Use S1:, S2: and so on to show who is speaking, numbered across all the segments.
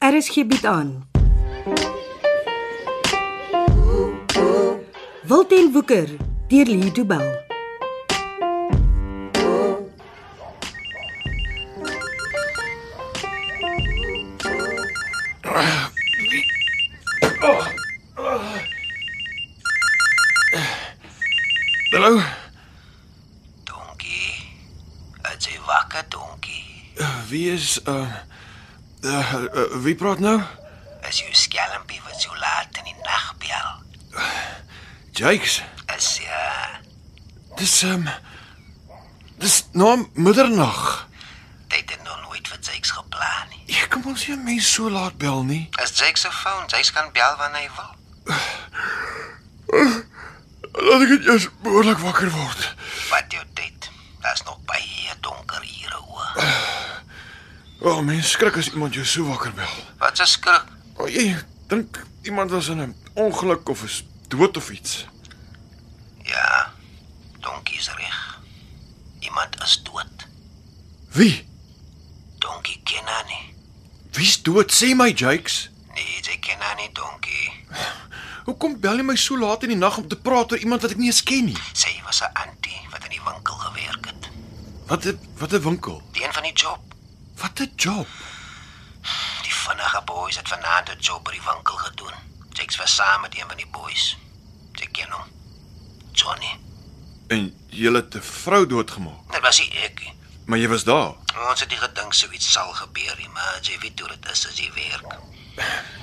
S1: RSG bied Er aan. Wilten Woeker deur Lee Du Bell.
S2: Hallo.
S3: Donkie. Is jy wakker, Donkie?
S2: Eh, Wie is uh, uh, uh wie praat nou?
S3: Is jou skelmpie wat so laat in die nag bel?
S2: Jakes.
S3: Is ja,
S2: Dis ehm um, Dis nou middernag.
S3: jy het dit nog nooit vir Jakes geplan nie.
S2: Ek kom ons hier mense so laat bel nie.
S3: Is Jakes se foon, Jakes kan bel wanneer hy wil.
S2: Laat ek net eers behoorlik wakker word.
S3: Wat jou tyd. Daar's nog baie donker ure oor.
S2: O, oh, mens skrik as iemand jou so wakker bel.
S3: Wat 'n skrik.
S2: O, oh, jy dink iemand was in 'n ongeluk of is dood of iets.
S3: Ja. Donkie is reg. Iemand is dood.
S2: Wie?
S3: Donkie ken haar nie.
S2: Wie's dood? Sê my, Jakes.
S3: Nee, jy ken haar nie, Donkie.
S2: Hoekom bel jy my so laat in die nag om te praat oor iemand wat ek nie eens ken nie?
S3: Sy was 'n antie wat in die winkel gewerk het.
S2: Wat 'n wat 'n winkel.
S3: Die een van die job.
S2: Wat 'n job.
S3: Die vinnige boys het vanaand 'n job by die winkel gedoen. Jakes was saam met een van die boys. Jy ken hom. Johnny.
S2: En jy het 'n vrou doodgemaak,
S3: Dit was nie ek. nie.
S2: maar jy was daar.
S3: Ons het nie gedink so iets sal gebeur nie, maar jy weet hoe dit is as jy werk.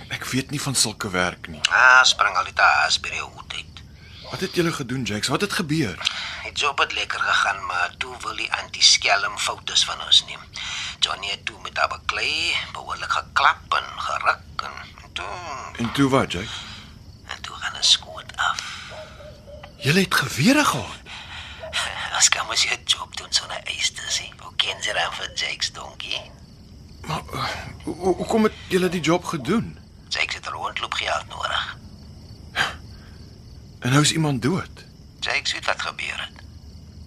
S2: Ek weet nie van sulke werk nie.
S3: Ah, spring al die taas by die hoed uit.
S2: Wat het julle gedoen, Jakes? Wat het gebeur?
S3: Die job het lekker gegaan, maar toe wil die anti-skelm foutes van ons neem. Johnny het toe met haar beklei, behoorlik geklap en geruk en en toe
S2: En toe wat, Jakes?
S3: en toe gaan 'n skoot af.
S2: Julle het gewere gehad.
S3: Ons kan mos hier job doen sonder eis te sien. Hoe ken jy dan vir Jake's donkie?
S2: Maar uh, ho- ho- hoekom het julle die job gedoen?
S3: Jake het rondloop geld nodig.
S2: En nou is iemand dood.
S3: Jake weet wat gebeur het.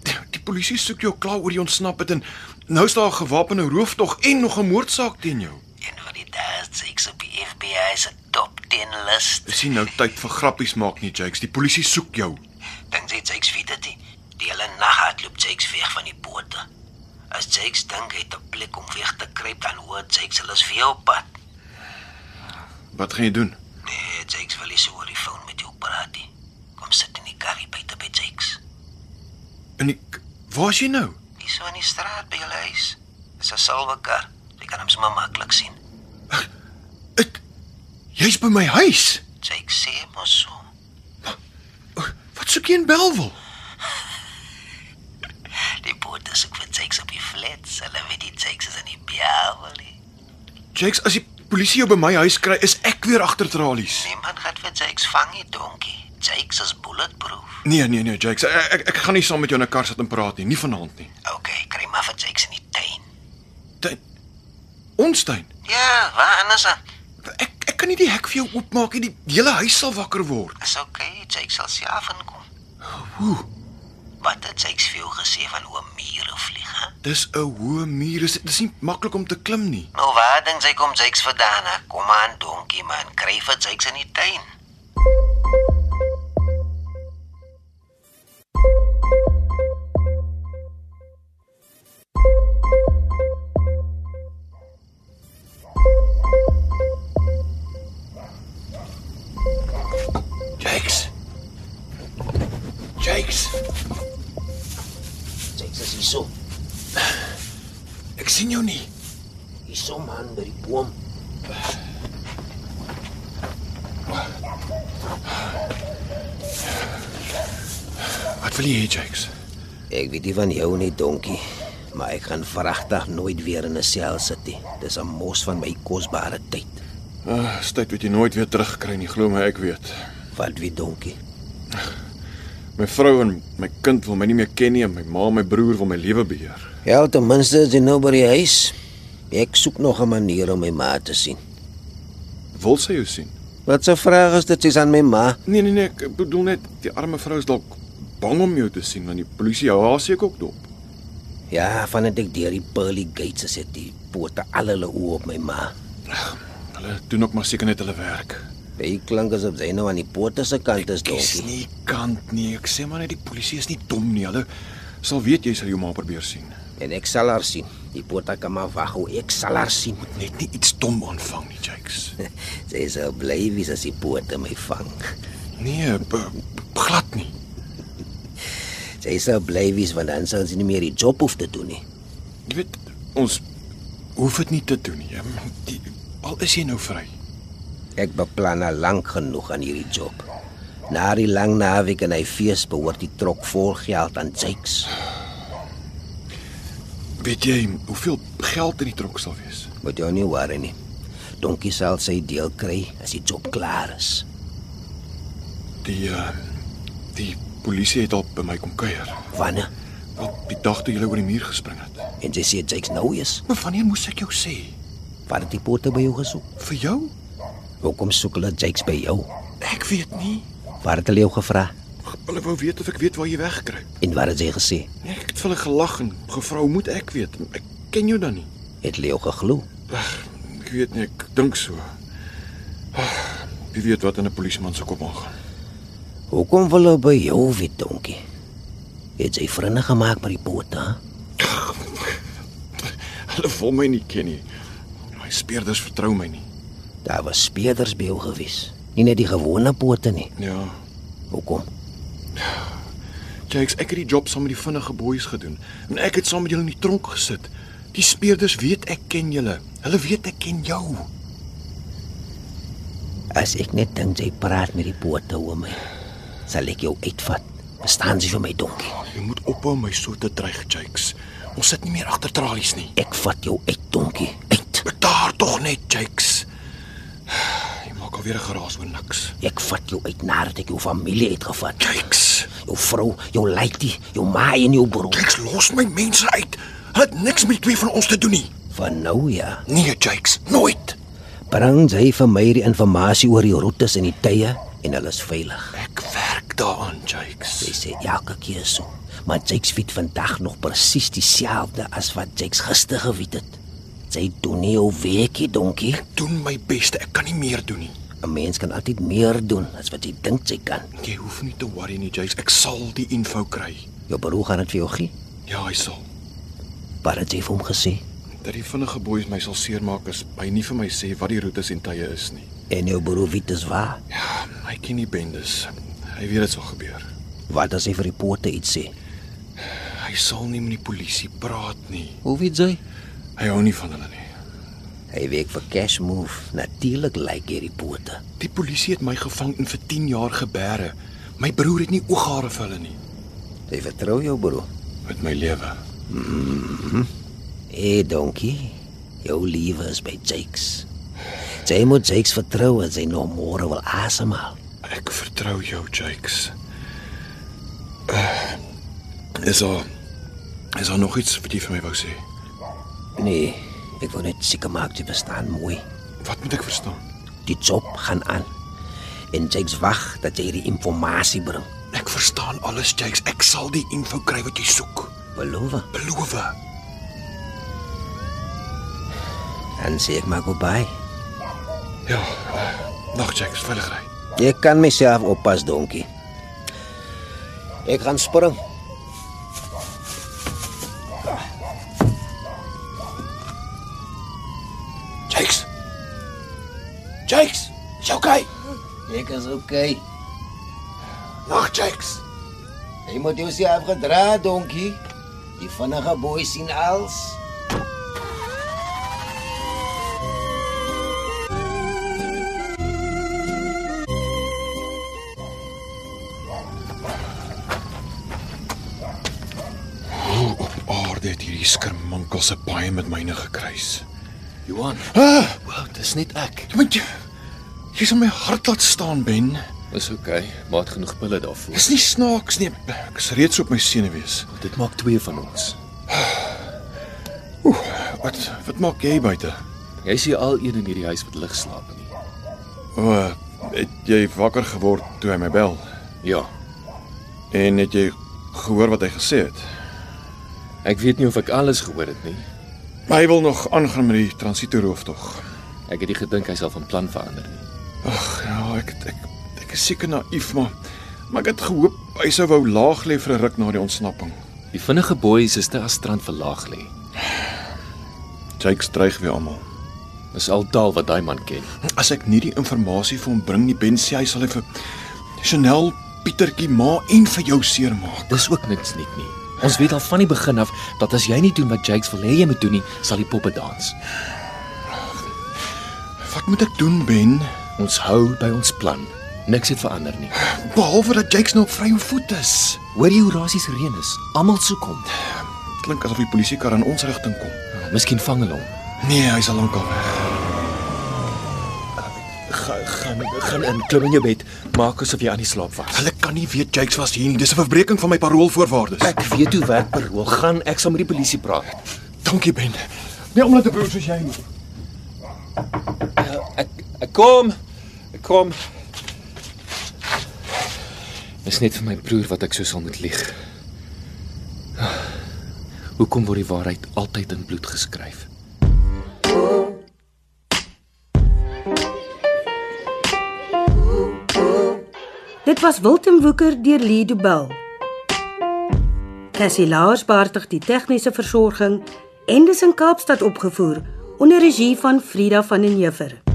S2: Die, die polisie soek jou klaar oor die ontsnap het en nou is daar 'n gewapende rooftog en nog 'n moordsaak teen jou.
S3: Een van die dae Jake se die FBI se top 10 lys.
S2: Dis nie nou tyd vir grappies maak nie, Jakes. Die polisie soek jou.
S3: Dink jy Jake weet dit? nie? Die hele nag hardloop Jake weg van die bote. As Jake dink hy het 'n plek om weg te kruip, dan hoor Jake hulle is vir jou op pad.
S2: Wat gaan jy doen?
S3: Nee, Jake wil nie so oor die foon met jou praat nie. Kom sit in die karry buite by Jake.
S2: En ek Waar is jy nou?
S3: Dis so in die straat by julle huis. Dis 'n silwerkar. Jy kan hom sommer maklik sien.
S2: Ek Jy's by my huis.
S3: Jake sê mos so.
S2: Wat soek jy in Belwel?
S3: Die boot is ook vir Jakes op die flats. Hulle weet die Jakes is in die bjawelie.
S2: Jakes, as die polisie jou by my huis kry, is ek weer agter tralies.
S3: Niemand gaan vir Jakes vang nie, donkie. Jakes is bulletproof.
S2: Nee, nee, nee, Jakes, ek ek, ek gaan nie saam met jou in 'n kar sit en praat nie, nie vanaand nie.
S3: OK, kry maar vir Jakes in die tuin.
S2: Tuin. Ons tuin.
S3: Ja, waar anders dan?
S2: Ek ek kan nie die hek vir jou oopmaak nie. Die hele huis sal wakker word.
S3: Is OK, Jakes sal se af inkom.
S2: Hoe?
S3: Wat het Jakes vir jou gesê van hoe mure vlieg? Hè?
S2: Dis 'n hoë muur. Dis dis nie maklik om te klim nie.
S3: Nou waar dink jy kom Jakes vandaan? hè? Kom aan, donkie man, kry vir Jakes in die tuin.
S2: Jakes. Jakes,
S3: Jakes is hierso.
S2: ek sien jou nie.
S3: Hierso man by die boom.
S2: Wat wil jy hê, Jakes?
S3: Ek weet nie van jou nie, donkie, maar ek gaan vragtig nooit weer in 'n sel sit nie. Dis 'n mos van my kosbare tyd.
S2: Ah, dis tyd wat jy nooit weer terugkry nie, glo my, ek weet.
S3: Wat wie donkie?
S2: My vrou en my kind wil my nie meer ken nie en my ma en my broer wil my lewe beheer.
S3: Ja, ten minste is jy nou by die huis. Ek soek nog 'n manier om my ma te sien.
S2: Wil sy jou sien?
S3: Wat 'n vraag is dit aan my ma?
S2: Nee nee nee, ek bedoel net die arme vrou is dalk bang om jou te sien want die polisie hou haar seker ook dop.
S3: Ja, vandat ek deur die pearly gates gesit, die pote al hulle oë op my ma.
S2: Hulle doen ook maar seker net hulle werk.
S3: Jy klink asof jy nou aan die poorte se kant is,
S2: Dis
S3: donkie.
S2: nie kant nie. Ek sê maar net die polisie is nie dom nie. Hulle sal weet jy sal jou ma probeer sien.
S3: En ek sal haar sien. Die poorte kan maar wag, hoe ek sal haar sien.
S2: Net nie iets dom aanvang nie, Jakes.
S3: Sy is so bly wie as die poorte my vang.
S2: Nee, b- b- glad nie.
S3: Sy is so bly wie want dan sal sy nie meer die job hoef te doen nie.
S2: Jy weet, ons hoef dit nie te doen nie. Ehm, Die, al is jy nou vry.
S3: Ek beplan al lank genoeg aan hierdie job. Na die lang naweek en hy fees behoort die trok vol geld aan Jakes.
S2: Weet jy hoeveel geld in die tronk sal wees?
S3: Moet jou nie worry nie. Donkie sal sy deel kry as die job klaar is.
S2: Die uh, die polisie het al by my kom kuier.
S3: Wanneer?
S2: Op die dag toe jy oor die muur gespring het.
S3: En sy sê Jakes nou is.
S2: Maar wanneer moes ek jou sê?
S3: Waar het die poorte by jou gesoek?
S2: Vir jou?
S3: Hoekom soek hulle Jakes by jou?
S2: Ek weet nie.
S3: Waar het hulle jou gevra?
S2: Hulle wou weet of ek weet waar jy wegkruip.
S3: En wat het sy gesê?
S2: Nee, ek het vir hulle gelag en gevra, "Hoe moet ek weet? Ek ken jou dan nie."
S3: Het hulle jou geglo?
S2: Ag, ek weet nie, ek dink so. Ag, Wie weet wat in 'n polisieman se kop aangaan.
S3: Hoekom wil hulle by jou weet, donkie? Het jy vriende gemaak met die pote? hè?
S2: Hulle wil my nie ken nie. My speerders vertrou my nie.
S3: Daar was speerders by jou gewees. Nie net die gewone pote nie.
S2: Ja.
S3: Hoekom?
S2: Jakes, ek het die job saam met die vinnige boeis gedoen en ek het saam met julle in die tronk gesit. Die speerders weet ek ken julle. Hulle weet ek ken jou.
S3: As ek net dink jy praat met die pote oor my, sal ek jou uitvat. Bestaan jy vir my, donkie?
S2: Jy moet ophou my so te dreig, Jakes. Ons sit nie meer agter tralies nie.
S3: Ek vat jou uit, donkie. Uit.
S2: Betaar tog net, Jakes. Jy maak alweer 'n geraas oor niks.
S3: Ek vat jou uit nadat ek jou familie uitgevat.
S2: Jakes.
S3: Jou vrou, jou laiti, jou ma en jou broer.
S2: Jakes, los my mense uit. Hulle het niks met twee van ons te doen nie.
S3: Van nou ja,
S2: Nee, Jakes, nooit.
S3: bring jy vir my die inligting oor die roetes en die tye en hulle is veilig.
S2: Ek werk daaraan, Jakes.
S3: Sy sê elke keer so, maar Jakes weet vandag nog presies dieselfde as wat Jakes gister geweet het. Sy doen nie hoe weekie donkie.
S2: Doen my bes, ek kan nie meer doen nie.
S3: 'n Mens kan altyd meer doen as wat jy dink jy kan.
S2: Jy hoef nie te worry nie, Jakes. Ek sal die info kry.
S3: Jou broer gaan dit vir jou gee.
S2: Ja, hy sal.
S3: Wat het jy vir hom gesê?
S2: Dat die vinnige boeis my sal seermaak as hy nie vir my sê wat die roetes en tye is nie.
S3: En jou broer weet dis waar.
S2: Ja, hy ken nie bendes. Hy weet dit sal gebeur.
S3: Wat as hy vir die poorte iets sê?
S2: Hy sal nie met die polisie praat nie.
S3: Hoe weet jy?
S2: Hy hou nie van hulle nie.
S3: Hy werk vir cash move. Natuurlik lyk like hierdie poorte.
S2: Die polisie het my gevang en vir 10 jaar gebeere. My broer het nie ooghare vir hulle nie
S3: Jy vertrou jou broer.
S2: met my lewe.
S3: Hé, hey, donkie. Jou liewe is by Jakes. Jy moet Jakes vertrou as hy nog môre wil asemhaal.
S2: Ek vertrou jou, Jakes. Uh, is daar is daar nog iets wat jy vir my wou sê?
S3: Nee, ek wou net seker maak jy verstaan mooi.
S2: Wat moet ek verstaan?
S3: Die job gaan aan. En Jakes wag dat jy hierdie inligting bring.
S2: Ek verstaan alles, Jakes. Ek sal die info kry wat jy soek.
S3: Beloof.
S2: Beloof.
S3: Dan sê ek maar goodbye.
S2: Ja. Uh, Nag, Jakes, veilig ry.
S3: Ek kan myself oppas, donkie. Ek gaan spring.
S2: Jakes. Jakes, jy's okay.
S3: Ek is okay.
S2: Nag, Jakes.
S3: Jy moet jou self gedra, donkie. Die vinnige boei sien als.
S2: Hoe op aarde het hierdie skermankel se baie met myne gekruis?
S4: Johan,
S2: Ah,
S4: wow, dis net ek.
S2: want jy jy's aan my hart laat staan, Ben.
S4: Dis oukei, okay. maar het genoeg pille daarvoor.
S2: Dis nie snaaks nie. Ek is reeds op my senuwees.
S4: Dit maak twee van ons.
S2: Oeh, wat wat maak jy buite?
S4: Jy is hier al een in hierdie huis wat lig slaap nie.
S2: O, oh, het jy wakker geword toe hy my bel?
S4: Ja,
S2: En het jy gehoor wat hy gesê het?
S4: ek weet nie of ek alles gehoor het nie.
S2: Maar hy wil nog aangaan met die transitoroeftog.
S4: Ek het nie gedink hy sal van plan verander nie.
S2: Ag ja, ek ek ek is seker naïef, maar maar ek het gehoop hy sou wou laag lê vir 'n ruk na die ontsnapping.
S4: Die vinnige boeis is te as strand verlaag lê.
S2: Jake stryg weer almal.
S4: Dis al taal wat daai man ken.
S2: As ek nie die inligting vir hom bring nie, Ben sê hy sal hy vir Chanel, Pietertjie, ma en vir jou seermaak.
S4: Dis ook niks nuut nie. Ons weet al van die begin af dat as jy nie doen wat Jakes wil hê jy moet doen nie, sal die poppe dans.
S2: Wat moet ek doen, Ben?
S4: Ons hou by ons plan. Niks het verander nie.
S2: Behalwe dat Jake nou op vrye voet is.
S4: Hoor jy hoe rasies reën is? Almal soek hom.
S2: Klink asof die polisiekar aan ons rigting kom.
S4: Miskien vang hulle hom.
S2: Nee, hy's al lankal weg.
S4: Ga- Gaan gaan in, klim in jou bed, maak asof jy aan die slaap was.
S2: Hulle kan nie weet Jakes was hier nie. Dis 'n verbreeking van my paroolvoorwaardes.
S4: Ek weet hoe werk parol. Gaan ek sal met die polisie praat.
S2: dankie Ben. Nee, omdat 'n broer soos jy moet.
S4: Ek ek kom. Ek kom. Dis net vir my broer wat ek so sal moet lieg. Hoekom word die waarheid altyd in bloed geskryf?
S1: Dit was Wilten Woeker deur Lee Du Bell. Cassie Lars beheerdig die tegniese versorging en dis in Kaapstad opgevoer onder regie van Frida van den Heever.